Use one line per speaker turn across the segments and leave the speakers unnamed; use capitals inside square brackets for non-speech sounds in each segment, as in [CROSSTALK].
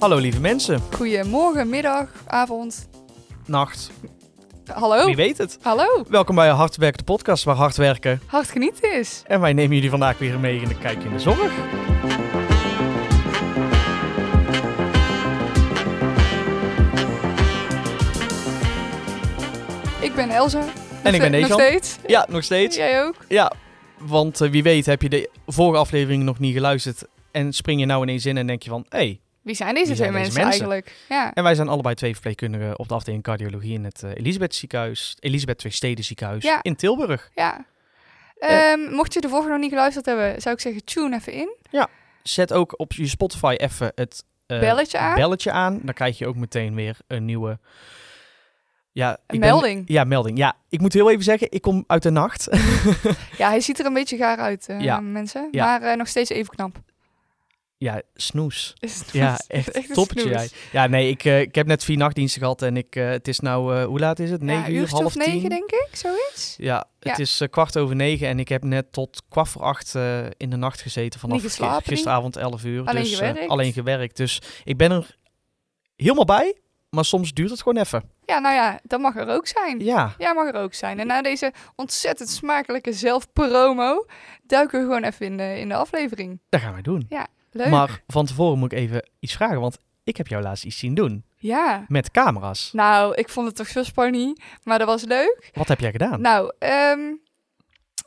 Hallo lieve mensen,
Goedemorgen, middag, avond.
nacht,
Hallo.
wie weet het.
Hallo.
Welkom bij Hard Werken, de podcast waar hard werken.
Hard genieten is.
En wij nemen jullie vandaag weer mee in een kijkje in de zorg.
Ik ben Elsa.
En ik ben
Nog
Dejan.
steeds.
Ja, nog steeds.
Jij ook.
Ja, want eh, wie weet heb je de vorige aflevering nog niet geluisterd. En spring je nou ineens in en denk je van, hé. Hey.
Wie zijn deze
Wie
twee
zijn deze
mensen,
mensen?
eigenlijk? Ja.
En wij zijn allebei twee verpleegkundigen op de afdeling cardiologie in het eh, Elisabeth ziekenhuis. Elisabeth Twee Steden ziekenhuis
Ja.
in Tilburg.
ja.
Eh.
Ehm, mocht je de vorige nog niet geluisterd hebben, zou ik zeggen tune even in.
Zet ook op je Spotify even het eh,
Belletje aan.
belletje aan. Dan krijg je ook meteen weer een nieuwe... Ja, ik
Een
ben-
melding.
Ja, melding. Ja, ik moet heel even zeggen, ik kom uit de nacht.
[LAUGHS] Ja, hij ziet er een beetje gaar uit, eh,
Ja.
mensen.
Ja.
Maar eh, nog steeds even knap. [LAUGHS]
ja, snoes.
Is het
Ja,
[LAUGHS] goed?
echt,
Echt een
toppertje
snoes.
jij. Ja, nee, ik, eh, ik heb net vier nachtdiensten gehad en ik, eh, het is nou, eh, hoe laat is het?
Ja,
Negen uur,
uurtje
half
of negen,
tien?
denk ik, zoiets.
Ja, het
Ja.
is eh, kwart over negen en ik heb net tot kwart voor acht eh, in de nacht gezeten vanaf
Niet geslapen,
gis- gisteravond 11 uur.
Alleen
dus, eh,
gewerkt.
alleen gewerkt. Dus ik ben er helemaal bij, maar soms duurt het gewoon even.
Ja, nou ja, dat mag er ook zijn.
Ja,
Ja, mag er ook zijn. En na deze ontzettend smakelijke zelfpromo duiken we gewoon even in de, in de aflevering.
dat gaan wij doen.
Leuk.
Maar van tevoren moet ik even iets vragen, want ik heb jou laatst iets zien doen
Ja.
met camera's.
Nou, ik vond het toch zo spannend, maar dat was leuk.
Wat heb jij gedaan?
Nou, ehm,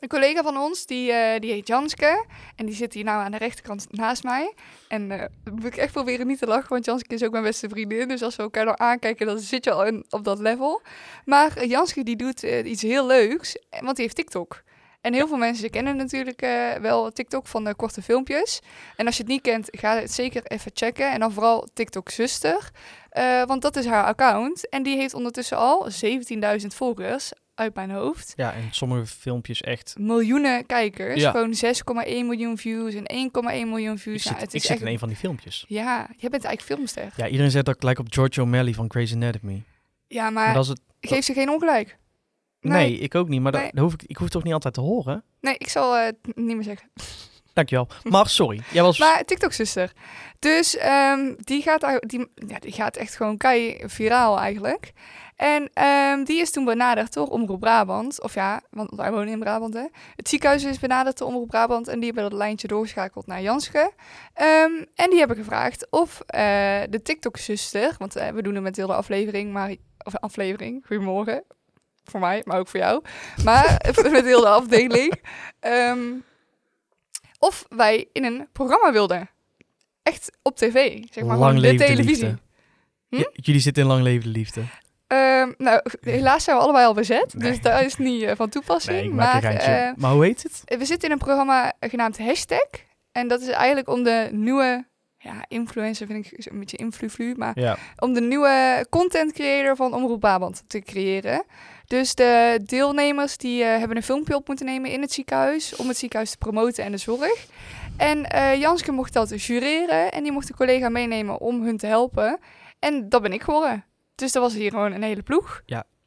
een collega van ons, die, eh, die heet Janske. En die zit hier nou aan de rechterkant naast mij. En eh, moet ik echt proberen niet te lachen, want Janske is ook mijn beste vriendin. Dus als we elkaar dan aankijken, dan zit je al in, op dat level. Maar eh, Janske die doet eh, iets heel leuks, eh, want die heeft TikTok. En heel veel mensen kennen natuurlijk eh, wel TikTok van de korte filmpjes. En als je het niet kent, ga het zeker even checken. En dan vooral TikTok Zuster. eh, want dat is haar account. En die heeft ondertussen al 17.000 volgers uit mijn hoofd.
Ja, en sommige filmpjes echt
Miljoenen kijkers.
Ja.
Gewoon 6,1 miljoen views en 1,1 miljoen views.
Ik zit,
Nou, het
ik
is
zit
echt...
in een van die filmpjes.
Ja, jij bent eigenlijk filmster. Ja,
Ja, iedereen zet dat gelijk op George O'Malley van Grey's Anatomy.
maar,
maar dat is het.
geef ze geen ongelijk.
Nee, ik ook niet. Maar dat,
Nee.
dat hoef ik, ik hoef toch niet altijd te horen.
Nee, ik zal eh, het niet meer zeggen. [LAUGHS]
Dankjewel. Maar sorry, jij was.
Maar TikTok-zuster. Dus ehm, die, gaat, eigenlijk- die, ja, die gaat echt gewoon kei viraal eigenlijk. En ehm, die is toen benaderd door Omroep Brabant. Of ja, want wij wonen in Brabant, hè. Het ziekenhuis is benaderd door Omroep Brabant. En die hebben dat lijntje doorgeschakeld naar Janske. Ehm, en die hebben gevraagd of eh, de TikTok-zuster... Want eh, we doen het met heel de aflevering, maar... Of aflevering, goedemorgen. Voor mij, maar ook voor jou. Maar [LAUGHS] met heel de afdeling. Ehm, of wij in een programma wilden. Echt op tv, zeg maar.
Lang
gewoon de
leven de
televisie.
liefde.
Hm?
Ja, jullie zitten in lang leven de
[LAUGHS]
liefde.
Ehm, nou, helaas zijn we allebei al bezet,
Nee.
dus daar is het niet eh, van toepassing.
Nee, ik maak
maar
een geintje. maar hoe heet
[LAUGHS]
het?
eh, we zitten in een programma genaamd Hashtag. En dat is eigenlijk om de nieuwe... Ja, influencer vind ik een beetje influ-flu, maar
Ja.
om de nieuwe content creator van Omroep Brabant te creëren. Dus de deelnemers die eh, hebben een filmpje op moeten nemen in het ziekenhuis om het ziekenhuis te promoten en de zorg. En eh, Janske mocht dat jureren en die mocht een collega meenemen om hun te helpen. En dat ben ik geworden. Dus dat was hier gewoon een hele ploeg.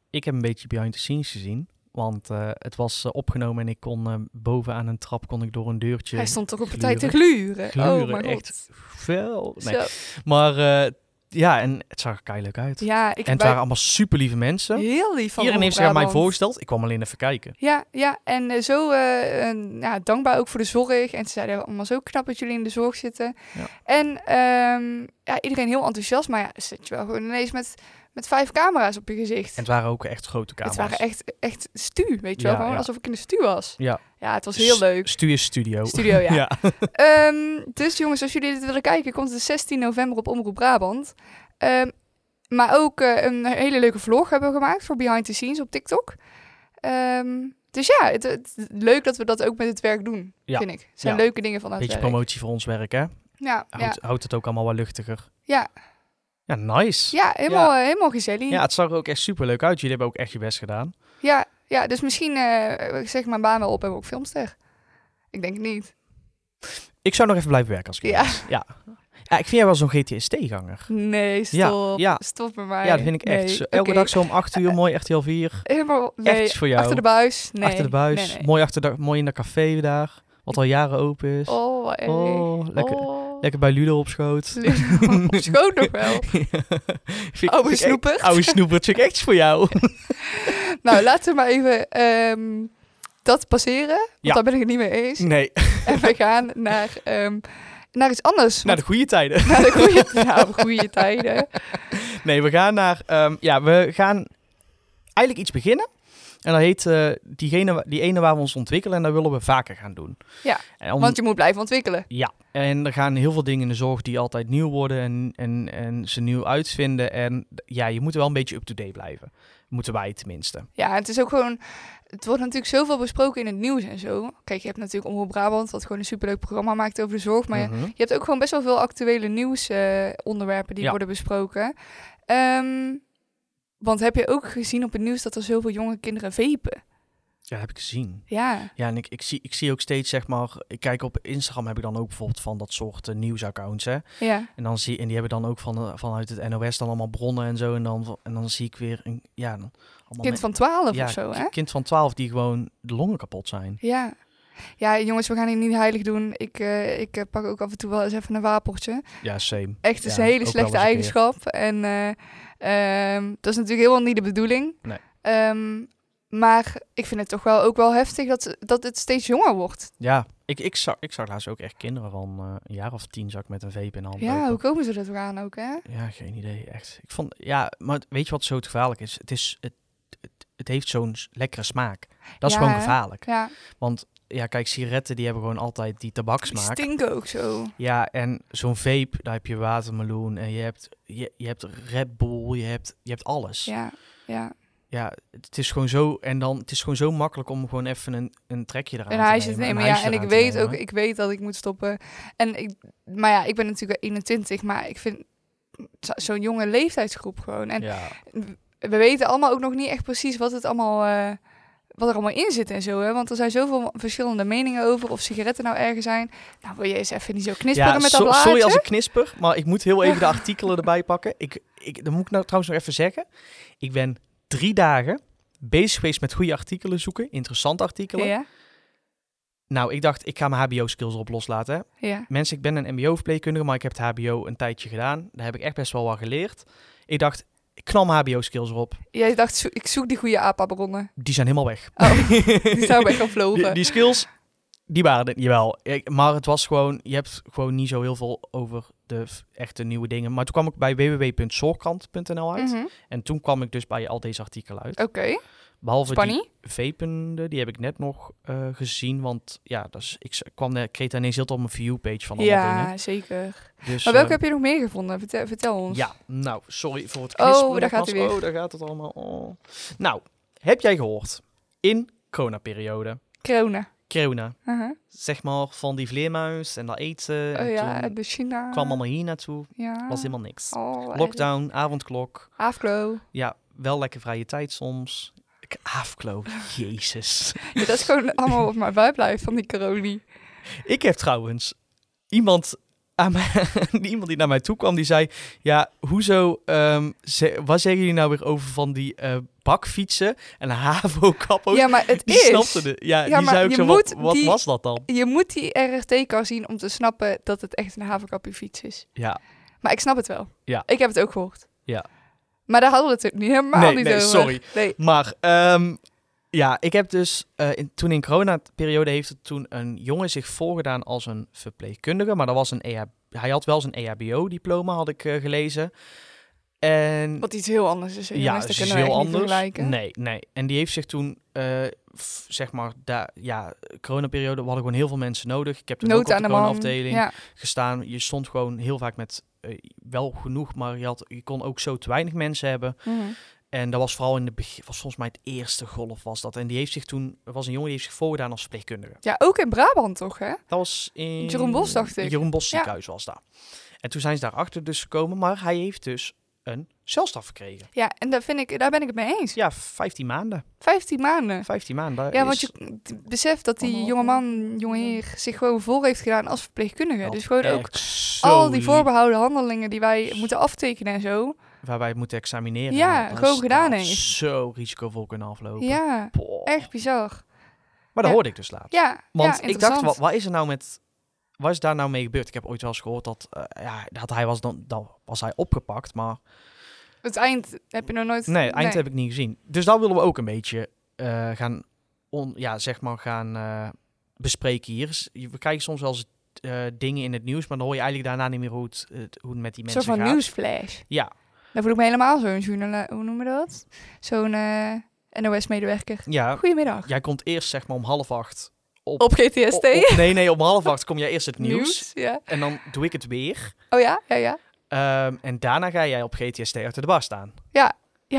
Ik heb een beetje behind the scenes gezien. Want eh, het was eh, opgenomen en ik kon eh, boven aan een trap kon ik door een deurtje.
Hij stond toch op een tijd te gluren. oh
Gluren,
mijn god.
echt. Fel. Nee.
Zo.
Maar eh, ja, en het zag er keihard uit.
Ja, ik
en het waren
ben
allemaal super lieve mensen.
heel lief van
Iedereen heeft zich aan
Omroep
mij
Brabant.
voorgesteld. Ik kwam alleen even kijken.
Ja, ja. en eh, zo eh, en, ja, dankbaar ook voor de zorg. En ze zeiden allemaal zo knap dat jullie in de zorg zitten.
Ja.
En ehm, ja, iedereen heel enthousiast, maar ja, zit je wel gewoon ineens met, met vijf camera's op je gezicht.
En het waren ook echt grote kamers.
het waren echt, echt stu, weet je wel,
Ja,
gewoon
ja.
alsof ik in de stu was.
Ja.
Ja, het was heel leuk.
Stuur studio.
Studio, ja.
[LAUGHS] Ja.
Ehm, dus jongens, als jullie dit willen kijken, komt het 16 november op Omroep Brabant. Ehm, maar ook eh, een hele leuke vlog hebben we gemaakt voor Behind the Scenes op TikTok. Ehm, dus ja, het, het- leuk dat we dat ook met het werk doen,
Ja.
vind ik. Het zijn
Ja.
leuke dingen van het
Beetje
werk.
promotie voor ons werk, hè?
Ja, ja,
Houdt, houdt het ook allemaal wel luchtiger.
ja.
Ja, nice.
ja, helemaal, eh, helemaal gezellig.
Ja, het zag er ook echt super leuk uit. Jullie hebben ook echt je best gedaan.
ja, ja, dus misschien eh, ik zeg mijn baan wel op en we ook filmster. Ik denk het niet.
Ik zou nog even blijven werken als ik
Ja.
was. Ja. ja. Ik vind jij wel zo'n GTST-ganger.
Nee,
Ja,
stop.
ja.
Stop met mij.
Ja, dat vind ik echt.
Nee,
zo- elke
oké.
dag zo om 8 uur, mooi RTL 4.
Helemaal, nee,
echt voor jou.
achter de buis. Nee.
Achter de buis.
Nee, nee.
Mooi, achter de, mooi in dat café daar. Wat al jaren open is.
Oh, wat erg.
Dus Oh, lekker.
Oh. Oh.
Lekker bij Ludo op schoot.
[LAUGHS] Op schoot nog wel.
[LAUGHS] Vind ik-
Oude
vind ik echt-
snoepert.
Oude snoepert, vind ik echt voor
[LAUGHS]
jou.
Nou, laten we maar even ehm, dat passeren. Want
Ja.
daar ben ik het niet mee
[LAUGHS]
eens.
Nee,
En we gaan naar, ehm, naar iets anders.
naar de goede tijden.
Want- naar de goede, [LAUGHS] nou, goede tijden.
Nee, we gaan naar. ehm, ja, we gaan eigenlijk iets beginnen. En dat heet eh, diegene, wa- die ene waar we ons ontwikkelen. En dat willen we vaker gaan doen.
Ja,
En, [LAUGHS] om-
Want je moet blijven ontwikkelen.
ja, en er gaan heel veel dingen in de zorg die altijd nieuw worden. En, en, en ze nieuw uitvinden. En ja, je moet wel een beetje up-to-date blijven. Moeten wij tenminste.
Ja, het is ook gewoon... Het wordt natuurlijk zoveel besproken in het nieuws en zo. Kijk, je hebt natuurlijk Omroep Brabant, wat gewoon een superleuk programma maakt over de zorg. Maar
Mhm.
je hebt ook gewoon best wel veel actuele nieuwsonderwerpen die
Ja.
worden besproken. Ehm, want heb je ook gezien op het nieuws dat er zoveel jonge kinderen vepen?
Ja, dat heb ik gezien.
Ja.
Ja, en ik, ik, zie, ik zie ook steeds, zeg maar, ik kijk op Instagram heb ik dan ook bijvoorbeeld van dat soort eh, nieuwsaccounts, hè.
Ja.
En, dan zie, en die hebben dan ook van, eh, vanuit het NOS dan allemaal bronnen en zo. En dan, en dan zie ik weer een, ja, dan, allemaal
Kind van 12
ja,
of zo,
ki-
hè?
kind van 12 die gewoon de longen kapot zijn.
Ja. Ja, jongens, we gaan hier niet heilig doen. Ik, eh, ik eh, pak ook af en toe wel eens even een wapeltje.
Ja, same.
Echt, het is
Ja,
een
ook
hele
wel
slechte
eens een
eigenschap. En eh, ehm, dat is natuurlijk helemaal niet de bedoeling.
Nee.
Ehm, maar ik vind het toch wel ook wel heftig dat, ze- dat het steeds jonger wordt.
Ja, ik, ik, zag, ik zag laatst ook echt kinderen van eh, een jaar of tien zag ik met een vape in de hand
Ja,
lopen.
hoe komen ze dat weer aan ook, hè?
Ja, geen idee, echt. Ik vond, ja, maar het- weet je wat zo het gevaarlijk is? Het, is, het, het, het heeft zo'n s- lekkere smaak. Dat is
Ja,
gewoon
hè?
gevaarlijk.
Ja,
Want ja, kijk, sigaretten die hebben gewoon altijd die
die
tabaksmaak.
stinken ook zo.
Ja, en zo'n vape, daar heb je watermeloen en je hebt, je, je hebt Red Bull, je hebt, je hebt alles. Ja.
Ja, ja.
het is gewoon zo, en dan, het is gewoon zo makkelijk om gewoon even een, een trekje eraan
Een
te
huisje
nemen.
te
een
nemen, ja.
huisje
En ik
eraan te
weet
nemen.
ook, ik weet dat ik moet stoppen. En ik, maar ja, ik ben natuurlijk 21, maar ik vind zo- zo'n jonge leeftijdsgroep gewoon. En
ja.
we weten allemaal ook nog niet echt precies wat het allemaal, eh, wat er allemaal in zit en zo. Hè? Want er zijn zoveel verschillende meningen over of sigaretten nou erger zijn. Nou, wil je eens even niet zo knisperen met dat
so-
blaadje?
sorry als ik knisper, maar ik moet heel even de
[LAUGHS]
artikelen erbij pakken. Ik, ik, dan moet ik nou trouwens nog even zeggen. Ik ben drie dagen bezig geweest met goede artikelen zoeken, interessante artikelen.
Ja,
Nou, ik dacht, ik ga mijn HBO-skills erop loslaten. hè.
ja.
Mensen, ik ben een MBO-verpleegkundige, maar ik heb het HBO een tijdje gedaan. Daar heb ik echt best wel wat geleerd. Ik dacht, ik knal mijn HBO-skills erop.
Jij dacht, zo- ik zoek die goede APA-bronnen.
Die zijn helemaal weg.
Oh, [LAUGHS]
[LAUGHS]
die zou weg gaan
Die,
vlogen.
die skills, die waren het niet wel. Ik- Maar het was gewoon, je hebt gewoon niet zo heel veel over de f- echte nieuwe dingen. Maar toen kwam ik bij www.zorgkrant.nl uit.
Mhm.
En toen kwam ik dus bij al deze artikelen uit.
Oké,
Behalve
Spanny.
die vepende, die heb ik net nog eh, gezien. Want ja, dat is, ik s- kwam, daar- ik kreeg daar ineens heel op mijn view-page van alle dingen.
Ja, zeker.
Dus,
Maar welke
eh,
heb je nog meer gevonden? Vertel, vertel ons.
Ja, nou, sorry voor het
Oh,
knisperen.
daar
dat
gaat
was-
hij weer.
Oh, daar gaat het allemaal. oh. Nou, heb jij gehoord? In coronaperiode,
Corona.
corona,
Uh-huh.
zeg maar, van die vleermuis en dat eten. en
Oh ja,
Eh, toen
de China.
kwam allemaal hier naartoe.
Ja.
Was helemaal niks.
Oh,
Lockdown, avondklok.
eh, Afklo.
Ja, wel lekker vrije tijd soms. Ik- Afklo,
[LAUGHS]
jezus.
Ja, dat is
[LAUGHS]
gewoon allemaal wat mijn vibe blijft van die corona.
Ik heb trouwens iemand, aan mij, [LAUGHS] iemand die naar mij toe kwam, die zei... Ja, hoezo, ehm, ze- wat zeggen jullie nou weer over van die eh, bakfietsen en havo-kappo's?
Ja, maar het
die
is...
snapte de, ja,
Ja,
die
maar
zei ook
je
zo,
moet
wat, wat
die-
was dat dan?
Je moet die RRT-kar zien om te snappen dat het echt een haverkappiefiets is.
Ja,
Maar ik snap het wel.
Ja.
Ik heb het ook gehoord.
Ja.
Maar daar hadden we het natuurlijk niet helemaal
Nee,
niet
nee,
over.
sorry.
Nee.
maar ehm, ja, ik heb dus eh, in- toen in coronaperiode heeft er toen een jongen zich voorgedaan als een verpleegkundige. Maar dat was een EH, hij had wel zijn EHBO-diploma, had ik eh, gelezen. En
Wat iets heel anders is. hè,
Ja,
jongens,
het
dat
is
kunnen we
heel
echt niet
anders.
vergelijken.
Nee, nee. En die heeft zich toen, eh, f- zeg maar, daar, ja, coronaperiode, we hadden gewoon heel veel mensen nodig. Ik heb toen ook
Nood
op
aan
de
de man.
coronaafdeling
Ja.
gestaan. Je stond gewoon heel vaak met eh, wel genoeg, maar je, had, je kon ook zo te weinig mensen hebben.
Mhm.
En dat was vooral in de begin, was volgens mij het eerste golf was dat. En die heeft zich toen, er was een jongen die heeft zich voorgedaan als verpleegkundige.
ja, ook in Brabant toch, hè?
Dat was in...
Jeroen Bos, dacht ik.
Jeroen Bos ziekenhuis was daar. En toen zijn ze daarachter dus gekomen, maar hij heeft dus een celstraf gekregen.
Ja, en daar, vind ik, daar ben ik het mee eens.
Ja, 15 maanden.
15 maanden.
15 maanden. daar
Ja,
is-
want je beseft dat die
Allemaal-
jongeman, jongeheer, zich gewoon voor heeft gedaan als verpleegkundige.
Dat
Dus gewoon ook
echt zo
al die
lief
voorbehouden handelingen die wij moeten aftekenen en zo.
Waar wij het moeten examineren.
Ja,
Dat
gewoon
is-
gedaan
dat
heeft.
Zo risicovol kunnen aflopen.
Ja,
Boah.
echt bizar.
Maar dat
Ja.
hoorde ik dus later.
Ja,
Want ik
ja,
dacht,
interessant.
wat, wat is er nou met wat is daar nou mee gebeurd? Ik heb ooit wel eens gehoord dat, eh, ja, dat hij was dan, dan was hij opgepakt, maar
Het eind heb je nog nooit...
nee, het eind heb ik niet gezien. Dus dat willen we ook een beetje eh, gaan, on, ja, zeg maar gaan eh, bespreken hier. S- je- We krijgen soms wel eens eh, dingen in het nieuws, maar dan hoor je eigenlijk daarna niet meer hoe het, het- hoe het met die
Een soort
mensen gaat.
van nieuwsflash.
Ja,
Dan voel ik me helemaal zo'n journalist... Hoe noemen we dat? Zo'n eh, NOS-medewerker.
ja.
Goedemiddag.
Jij komt eerst zeg maar om half acht.
Op GTST.
O-
[LAUGHS]
op- nee, nee, om half acht kom jij eerst het nieuws.
ja.
En dan doe ik het weer.
Oh ja? Ja, ja.
Ehm, en daarna ga jij op GTST achter de bar staan.
Ja,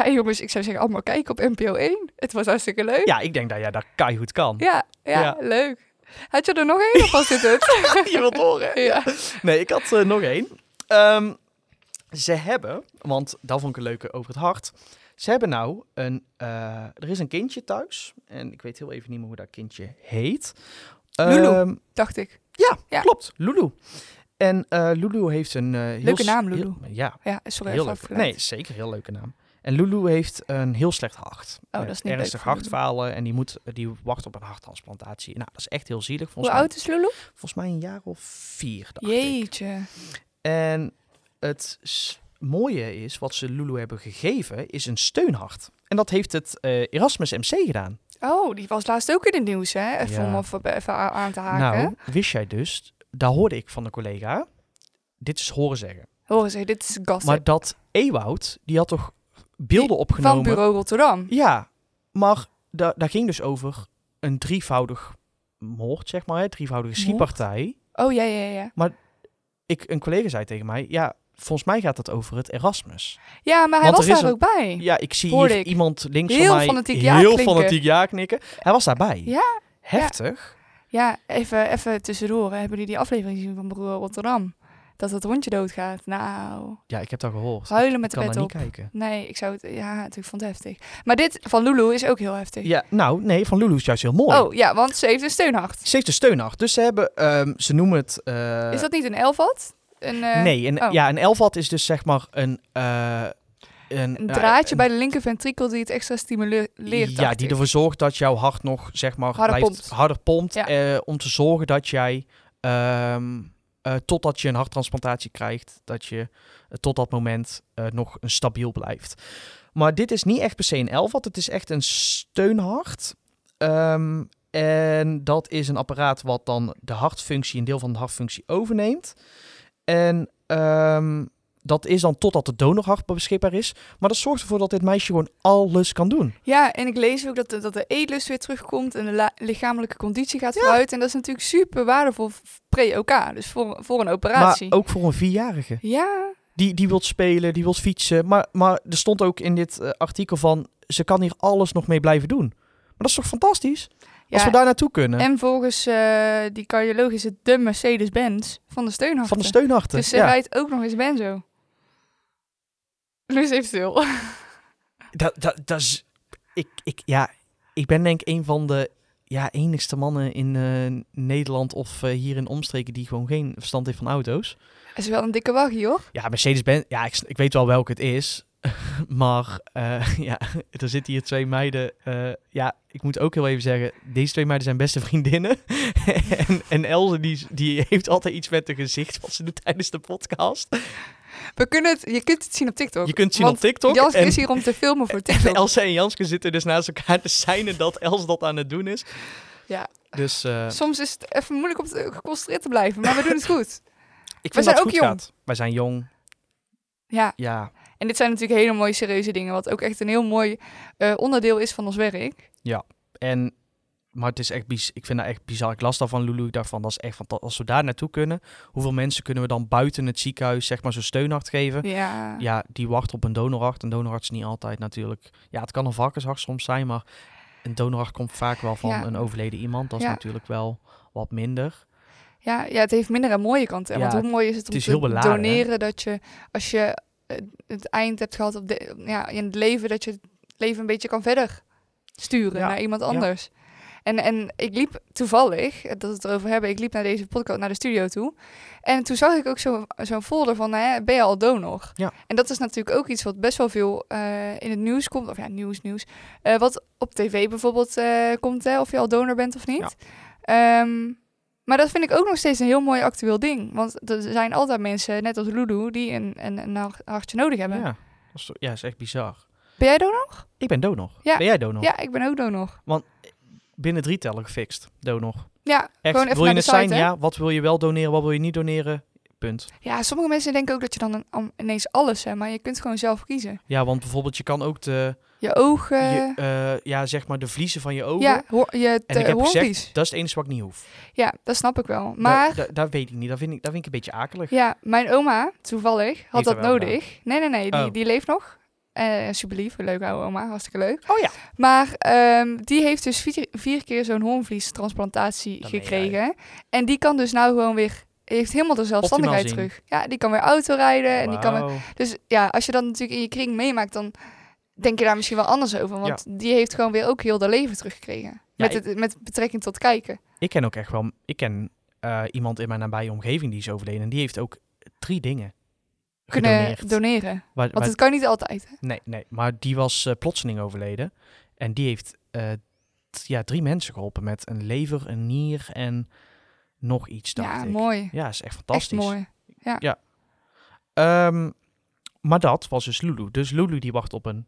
jongens, ik zou zeggen, allemaal kijken op NPO 1. Het was hartstikke leuk.
Ja, ik denk dat jij dat keihard kan.
Ja, ja,
Ja.
leuk. Had je er nog één of was dit het?
[LAUGHS] Je wilt horen. hè?
[LAUGHS] ja.
Nee, ik had eh, nog één. Ehm, ze hebben, want dat vond ik een leuke over het hart. Ze hebben nou een. eh, er is een kindje thuis. En ik weet heel even niet meer hoe dat kindje heet.
Lulu.
Ehm,
Dacht ik.
ja,
Ja.
klopt. Lulu. En eh, Lulu heeft een. eh, heel
Leuke
s-
naam, Lulu.
heel- ja,
Ja, sorry.
heel
even
leuk.
afgeleid.
Nee, zeker heel leuke naam. En Lulu heeft een heel slecht hart.
Oh, dat
Eh,
is niet leuk
ernstig
voor
hartfalen en die, moet, die wacht op een harttransplantatie. Nou, dat is echt heel zielig.
Hoe
Volgens, mij,
oud is Lulu?
volgens mij een jaar of vier. dacht ik.
Jeetje.
En het s- mooie is, wat ze Lulu hebben gegeven, is een steunhart. En dat heeft het eh, Erasmus MC gedaan.
Oh, die was laatst ook in het nieuws, hè? Even
Ja.
om even, even a- aan te haken.
Nou, wist jij dus, daar hoorde ik van een collega, dit is horen zeggen.
Horen ze, dit is gossip.
Maar dat Ewoud, die had toch beelden
van
opgenomen?
bureau Rotterdam.
Ja, maar da daar ging dus over een drievoudig moord, zeg maar, hè? drievoudige
Moord?
schietpartij.
Oh, ja, ja, ja.
Ik, een collega zei tegen mij, ja, volgens mij gaat dat over het Erasmus.
Ja, maar hij
Want
was
er is
daar
een-
ook bij.
Ja, ik zie
Hoorde
hier
ik.
iemand links
Heel
van mij
fanatiek ja
heel
klinken.
fanatiek ja knikken. Hij was daarbij.
Ja,
Heftig.
Ja, even, even tussendoor. hè. Hebben jullie die aflevering gezien van bureau Rotterdam? Dat het hondje doodgaat. Nou,
Ja, ik heb dat gehoord. Ik
huilen met de
kan
pet
daar niet
op.
kijken.
Nee, ik zou het... Ja, ik vond het heftig. Maar dit van Lulu is ook heel heftig.
Ja, nou, nee, van Lulu is juist heel mooi.
Oh, ja, want ze heeft een steunhart.
Ze heeft een steunacht. Dus ze hebben, ehm, ze noemen het... eh,
is dat niet een elfat? Een, eh,
nee, een,
oh.
ja, een elfat is dus zeg maar een... eh, een,
een
eh,
draadje
een-
bij de linkerventrikel die het extra stimuleert.
Ja,
dacht
die
ik.
ervoor zorgt dat jouw hart nog, zeg maar,
Harder
blijft,
pompt.
harder pompt.
Ja.
eh, om te zorgen dat jij, ehm, eh, totdat je een harttransplantatie krijgt, dat je eh, tot dat moment eh, nog een stabiel blijft. Maar dit is niet echt per se een elfat, het is echt een steunhart. Ehm, en dat is een apparaat wat dan de hartfunctie, een deel van de hartfunctie overneemt. En ehm, dat is dan totdat de donorhart beschikbaar is. Maar dat zorgt ervoor dat dit meisje gewoon alles kan doen.
Ja, en ik lees ook dat de, dat de eetlust weer terugkomt en de la- lichamelijke conditie gaat vooruit. En dat is natuurlijk super waardevol v- pre-OK, dus voor, voor een operatie.
Maar ook voor een vierjarige.
Ja,
Die, die wilt spelen, die wilt fietsen. Maar, maar er stond ook in dit eh, artikel van... ze kan hier alles nog mee blijven doen. Maar dat is toch fantastisch? Als
ja.
we daar naartoe kunnen.
en volgens eh, die cardioloog is het de Mercedes-Benz van de steunharten.
van de steunharten.
Dus ze
ja.
rijdt ook nog eens benzo. Dus heeft stil.
Dat, dat, dat is... Ik, ik, ja, ik ben denk ik een van de ja, enigste mannen in eh, Nederland... of eh, hier in omstreken die gewoon geen verstand heeft van auto's.
Dat is wel een dikke waggie, hoor.
Ja, Mercedes-Benz... Ja, ik, s- ik weet wel welke het is... [LAUGHS] Maar eh, [LAUGHS] ja, er zitten hier twee meiden. eh, ja, ik moet ook heel even zeggen, deze twee meiden zijn beste vriendinnen. [LAUGHS] en, en Elze, die, die heeft altijd iets met haar gezicht wat ze doet tijdens de podcast.
We kunnen het, je kunt het zien op TikTok.
Je kunt zien
Want
op TikTok.
Janske
en,
is hier om te filmen
[LAUGHS]
voor
en
TikTok.
Elze en Janske zitten dus naast elkaar te zijn dat Els dat aan het doen is.
Ja.
Dus eh,
Soms is het even moeilijk om te, geconcentreerd te blijven, maar we doen
[LAUGHS]
het goed.
ik vind
zijn
dat het
ook
goed
jong.
gaat. Wij zijn jong,
Ja,
ja.
en dit zijn natuurlijk hele mooie serieuze dingen, wat ook echt een heel mooi eh, onderdeel is van ons werk.
En, maar het is echt bizar. Ik vind dat echt bizar. Ik las daarvan, Lulu. Ik dacht van, dat is echt fantastisch. Als we daar naartoe kunnen, hoeveel mensen kunnen we dan buiten het ziekenhuis zeg maar zo'n steunhart geven?
Ja.
ja, die wacht op een donorhart. Een donorhart is niet altijd natuurlijk. Ja, het kan een varkenshart soms zijn, maar een donorhart komt vaak wel van
Ja.
een overleden iemand. Dat is
Ja.
natuurlijk wel wat minder.
Ja, ja, het heeft minder en mooie kanten.
Ja,
want hoe mooi is het om
is
te
heel beladen, hè?
doneren dat je, als je eh, het eind hebt gehad op de, ja, in het leven, dat je het leven een beetje kan verder sturen
Ja,
naar iemand
ja.
anders. En, en ik liep toevallig, eh, dat we het erover hebben, ik liep naar deze podcast, naar de studio toe. En toen zag ik ook zo- zo'n folder van, hè, ben je al donor?
Ja.
En dat is natuurlijk ook iets wat best wel veel eh, in het nieuws komt. Of ja, nieuws, nieuws. Eh, wat op tv bijvoorbeeld eh, komt, hè, of je al donor bent of niet. Ehm, Maar dat vind ik ook nog steeds een heel mooi actueel ding. Want er zijn altijd mensen, net als Lulu, die een, een, een hart- hartje nodig hebben.
Ja, dat is, ja, is echt bizar.
Ben jij donor?
Ik ben donog.
Ja.
Ben jij donog?
Ja, ik ben ook donor.
Binnen drie tellen gefixt, donog.
Ja,
Echt,
gewoon even
wil je
naar de
het
site,
zijn?
hè?
Ja, wat wil je wel doneren, wat wil je niet doneren? Punt.
Ja, sommige mensen denken ook dat je dan een- am- ineens alles hebt, maar je kunt gewoon zelf kiezen.
Ja, want bijvoorbeeld je kan ook de,
Je ogen,
je, eh, ja, zeg maar de vliezen van je ogen.
ja, hoor- je
en ik heb
hoorvies.
gezegd, dat is het enige wat ik niet hoef.
Ja, dat snap ik wel. Maar
Dat, dat, dat weet ik niet, dat vind ik, dat vind ik een beetje akelig.
ja, mijn oma, toevallig, had
Heeft
dat
er wel
nodig. Nee, nee, nee, die,
Oh.
die leeft nog. Eh super lief, leuk oude oma, hartstikke leuk.
Oh ja.
Maar ehm, die heeft dus vier, vier keer zo'n hoornvliestransplantatie
Dan ben jij.
gekregen. En die kan dus nou gewoon weer, heeft helemaal de zelfstandigheid
zien.
terug. Ja, die kan weer auto rijden en die kan weer
Wauw.
Dus ja, als je dat natuurlijk in je kring meemaakt, dan denk je daar misschien wel anders over. Want die heeft gewoon weer ook heel dat leven teruggekregen. met,
ik-
het, met betrekking tot kijken.
Ik ken ook echt wel, ik ken eh, iemand in mijn nabije omgeving die is overleden. En die heeft ook drie dingen
Kunnen
gedoneerd.
doneren.
Waar-
Want
waar-
het kan niet altijd. Hè?
nee, nee, maar die was eh, plotseling overleden. En die heeft eh, t- ja, drie mensen geholpen met een lever, een nier en nog iets, dacht
Ja,
ik.
mooi.
Ja, is echt
Echt
fantastisch.
mooi.
Ehm, maar dat was dus Lulu. Dus Lulu die wacht op een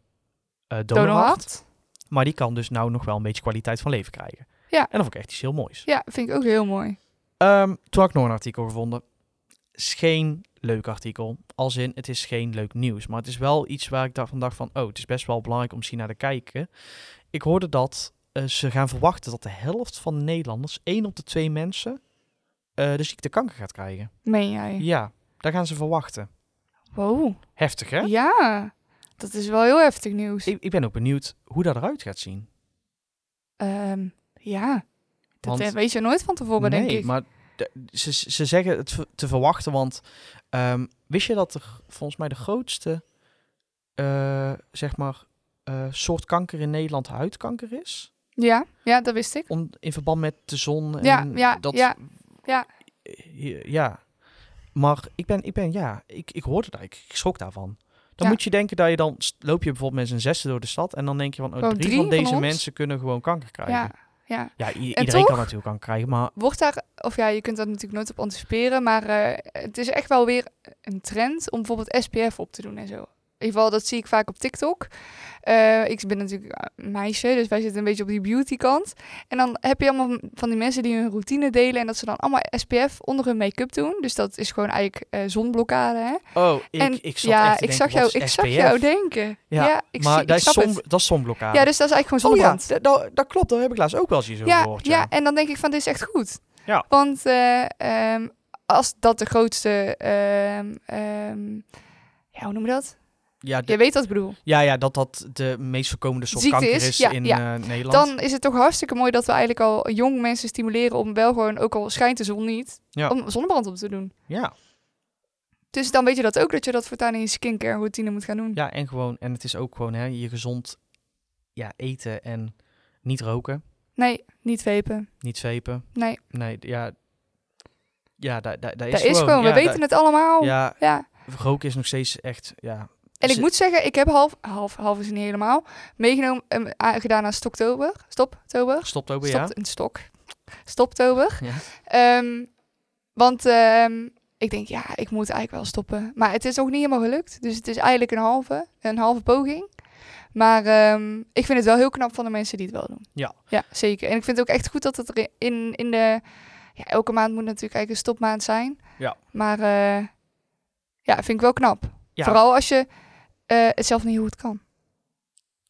eh donorhart.
Donorhart.
Maar die kan dus nou nog wel een beetje kwaliteit van leven krijgen.
Ja.
En dat vond ik echt iets heel moois.
Ja, vind ik ook heel mooi.
Ehm, toen had ik nog een artikel gevonden. Is geen leuk artikel. Als in, het is geen leuk nieuws. Maar het is wel iets waar ik daarvan dacht van... Oh, het is best wel belangrijk om misschien naar te kijken. Ik hoorde dat eh, ze gaan verwachten dat de helft van de Nederlanders... één op de twee mensen eh, de ziekte kanker gaat krijgen.
Meen jij?
Ja, daar gaan ze verwachten.
Wow.
Heftig, hè?
Ja. Dat is wel heel heftig nieuws.
Ik, ik ben ook benieuwd hoe dat eruit gaat zien.
Ehm, ja. Dat
Want-
eh, weet je nooit van tevoren,
nee,
denk ik.
maar de- ze, ze zeggen het ver- te verwachten, want ehm, wist je dat er volgens mij de grootste, eh, zeg maar, eh, soort kanker in Nederland huidkanker is?
Ja, ja, dat wist ik.
Om, in verband met de zon en
Ja, ja,
dat...
ja, ja.
Eh, Ja. Maar ik ben, ik ben ja, ik, ik hoorde daar, ik, ik schrok daarvan. Dan
Ja.
moet je denken dat je dan, st- loop je bijvoorbeeld met z'n zesde door de stad en dan denk je van, oh,
Gewoon
drie,
drie
van
van
deze
ons?
mensen kunnen gewoon kanker krijgen.
Ja,
Ja,
ja.
i- iedereen
toch?
kan natuurlijk kanker krijgen, maar
Wordt daar, of ja, je kunt daar natuurlijk nooit op anticiperen, maar eh, het is echt wel weer een trend om bijvoorbeeld SPF op te doen en zo. In ieder geval, dat zie ik vaak op TikTok. Eh, ik ben natuurlijk een meisje, dus wij zitten een beetje op die beauty kant. En dan heb je allemaal van die mensen die hun routine delen en dat ze dan allemaal SPF onder hun make-up doen. Dus dat is gewoon eigenlijk eh, zonblokkade, hè?
Oh, ik,
en
ik zat
ja,
echt te
ik
denken,
zag
wat
jou,
is
ik
SPF?
zag jou denken. Ja,
Ja,
ik,
maar
zie, ik
dat, is
snap
som,
het.
dat is zonblokkade.
Ja, dus dat is eigenlijk gewoon
oh ja,
zonnebrand.
dat, dat, dat klopt. Dat heb ik laatst ook wel eens zo
ja,
gehoord.
ja, en dan denk ik van, dit is echt goed.
Ja.
Want eh, ehm, als dat de grootste, ehm, ehm, ja, hoe noem je dat?
Ja,
Je
de-
weet wat ik bedoel.
ja, ja, dat dat de meest voorkomende soort
Ziekte
kanker
is,
is,
ja,
in
ja.
eh, Nederland.
Dan is het toch hartstikke mooi dat we eigenlijk al jong mensen stimuleren om wel gewoon, ook al schijnt de zon niet,
Ja.
om zonnebrand op te doen.
ja,
Dus dan weet je dat ook, dat je dat voortaan in je skincare routine moet gaan doen.
ja, en gewoon, en het is ook gewoon hè, je gezond ja, eten en niet roken,
Nee, niet vepen.
niet vepen.
Nee.
Nee, ja, ja daar da, da is
dat is gewoon, we
ja,
weten
da-
het allemaal. Ja.
Ja, roken is nog steeds echt, ja.
En
Is
ik
het-
moet zeggen, ik heb half, half, half is niet helemaal, meegenomen, en gedaan aan Stoktober. Stoptober.
Stopt ook weer, ja.
Stopt een stok. Stoptober.
Ja.
Ehm, want ehm, ik denk, ja, ik moet eigenlijk wel stoppen. Maar het is nog niet helemaal gelukt. Dus het is eigenlijk een halve, een halve poging. Maar ehm, ik vind het wel heel knap van de mensen die het wel doen.
Ja.
Ja, zeker. En ik vind het ook echt goed dat het er in, in de... Ja, elke maand moet natuurlijk eigenlijk een stopmaand zijn.
Ja.
Maar eh, ja, vind ik wel knap.
Ja.
Vooral als je eh, het zelf niet goed kan.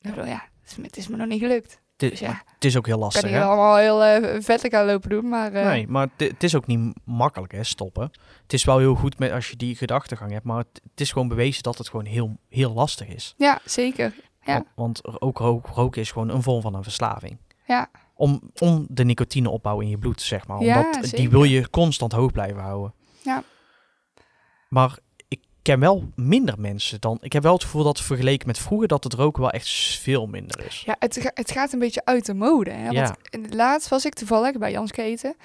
Ik bedoel, ja, het is, het is me nog niet gelukt.
Het
Dus
is-
ja.
maar het is ook heel lastig,
Ik kan hier
hè.
allemaal heel eh vetelijk aan lopen doen, maar... eh,
Nee, maar het- het is ook niet makkelijk, hè, stoppen. Het is wel heel goed met, als je die gedachtegang hebt, maar het, het is gewoon bewezen dat het gewoon heel, heel lastig is.
Ja, zeker. Ja.
Want, want er- ook rook- roken is gewoon een vorm van een verslaving.
Ja.
Om, om de nicotineopbouw in je bloed, zeg maar.
Ja,
Omdat die
zeker.
wil je constant hoog blijven houden.
Ja.
Maar ik ken wel minder mensen dan... Ik heb wel het gevoel dat vergeleken met vroeger... dat het roken wel echt veel minder is.
Ja, het, ga- het gaat een beetje uit de mode. Hè? Want
Ja.
eh, laatst was ik toevallig bij Janske eten.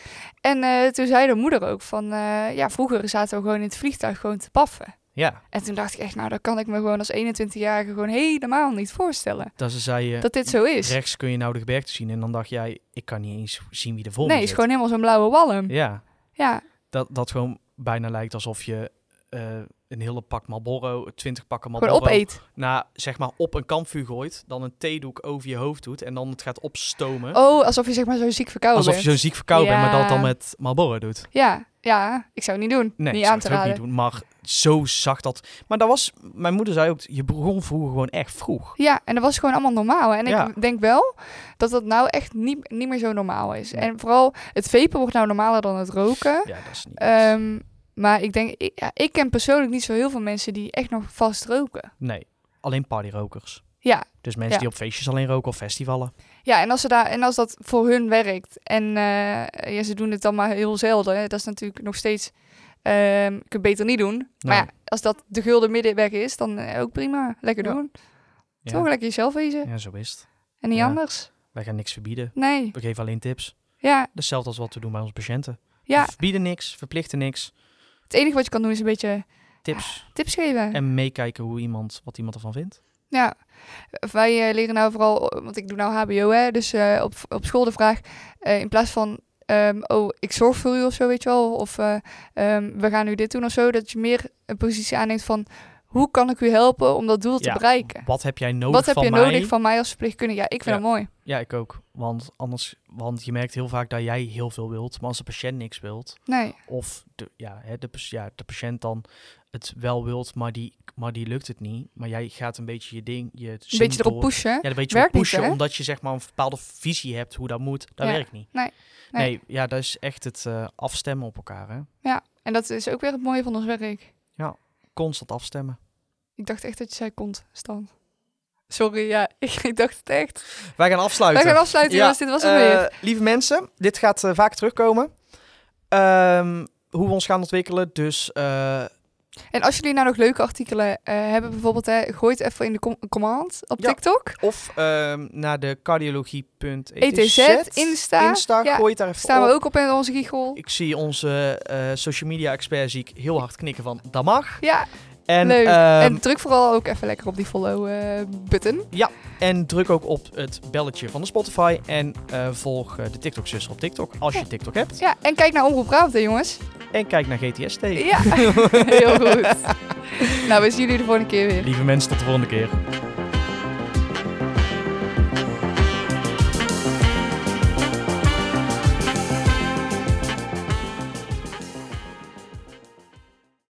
En eh, toen zei de moeder ook van... eh, ja, vroeger zaten we gewoon in het vliegtuig gewoon te paffen.
Ja,
En toen dacht ik echt, nou, dat kan ik me gewoon als 21-jarige gewoon helemaal niet voorstellen.
dat ze zei je,
Dat dit zo is.
rechts kun je nou de gebergte zien. En dan dacht jij, ik kan niet eens zien wie er voor me
Nee, is
zit.
gewoon helemaal zo'n blauwe walm.
Ja,
Ja,
dat, dat gewoon bijna lijkt alsof je eh, een hele pak Marlboro, twintig pakken
gewoon
Marlboro...
opeet.
Na, zeg maar, op een kampvuur gooit. Dan een theedoek over je hoofd doet. En dan het gaat opstomen.
Oh, alsof je zeg maar zo ziek verkouden
alsof je zo
bent.
ziek verkouden bent, maar dat
Ja.
dan met Marlboro doet.
Ja, ja, ik zou het niet doen.
Nee,
niet
ik zou
aan
het
te
ook
raden.
niet doen. Maar zo zacht dat... Maar dat was... Mijn moeder zei ook, je begon vroeger gewoon echt vroeg.
Ja, en dat was gewoon allemaal normaal. En
Ja.
ik denk wel dat dat nou echt niet, niet meer zo normaal is.
Nee.
En vooral, het vapen wordt nou normaler dan het roken.
Ja, dat is niet...
Ehm, maar ik denk, ik, ja, ik ken persoonlijk niet zo heel veel mensen die echt nog vast roken.
Nee, alleen partyrokers.
Ja.
Dus mensen
Ja.
die op feestjes alleen roken of festivalen.
Ja, en als, ze daar, en als dat voor hun werkt en eh, ja, ze doen het dan maar heel zelden, hè, dat is natuurlijk nog steeds, ehm, ik kan het beter niet doen. Maar
Nou,
ja, als dat de gulden middenweg is, dan eh, ook prima. Lekker
Ja.
doen.
ja.
Toch lekker jezelf wezen.
Ja, zo is het.
En niet
Ja.
anders.
Wij gaan niks verbieden.
Nee.
We geven alleen tips.
Ja,
Hetzelfde als wat we doen bij onze patiënten.
ja.
We verbieden niks, verplichten niks.
Het enige wat je kan doen is een beetje
Tips.
tips geven.
En meekijken hoe iemand, wat iemand ervan vindt.
Ja. Wij eh, leren nou vooral, want ik doe nou HBO, hè, dus eh, op, op school de vraag, eh, in plaats van, ehm, oh, ik zorg voor u of zo, weet je wel, of eh, ehm, we gaan nu dit doen of zo, dat je meer een positie aanneemt van, hoe kan ik u helpen om dat doel te
Ja,
bereiken?
Wat heb jij nodig
Wat heb
van
je
mij?
nodig van mij als verpleegkundige? Ja, ik vind
Ja.
dat mooi.
Ja, ik ook. Want anders, want je merkt heel vaak dat jij heel veel wilt, maar als de patiënt niks wilt,
Nee,
of de, ja, hè, de, pas- ja, de patiënt dan het wel wilt, maar die, maar die lukt het niet. Maar jij gaat een beetje je ding, je
een beetje erop pushen.
Ja, een beetje
Werkt
op
niet,
pushen,
hè?
omdat je zeg maar een bepaalde visie hebt hoe dat moet. Dat
Ja.
werkt niet.
Nee.
Nee.
Nee.
ja, dat is echt het eh, afstemmen op elkaar, hè.
En dat is ook weer het mooie van ons werk.
Constant afstemmen.
Ik dacht echt dat je zei constant. Sorry, ja, [LAUGHS] ik, ik dacht het echt.
Wij gaan afsluiten.
Wij gaan afsluiten, jongens. Dit was hem
eh,
weer.
Lieve mensen, dit gaat eh, vaak terugkomen. Ehm, hoe we ons gaan ontwikkelen. Dus eh,
En als jullie nou nog leuke artikelen eh, hebben, bijvoorbeeld, hè, gooi het even in de com- command op
Ja.
TikTok.
of ehm, naar de cardiologie.etz.
ETZ, E Insta.
Insta,
Ja,
gooi het daar even
Staan
op.
we ook op in onze giegel.
Ik zie onze eh, social media expert zie ik heel hard knikken van dat mag.
Ja,
En,
leuk.
ehm,
en druk vooral ook even lekker op die eh, follow-button.
En druk ook op het belletje van de Spotify. En eh, volg eh, de TikTok-zuster op TikTok als je
Ja.
TikTok hebt.
ja, en kijk naar Omroep Brabant, hè, jongens.
En kijk naar GTS-T.
[LAUGHS] Ja, heel goed. nou, we zien jullie de volgende keer weer.
Lieve mensen, tot de volgende keer.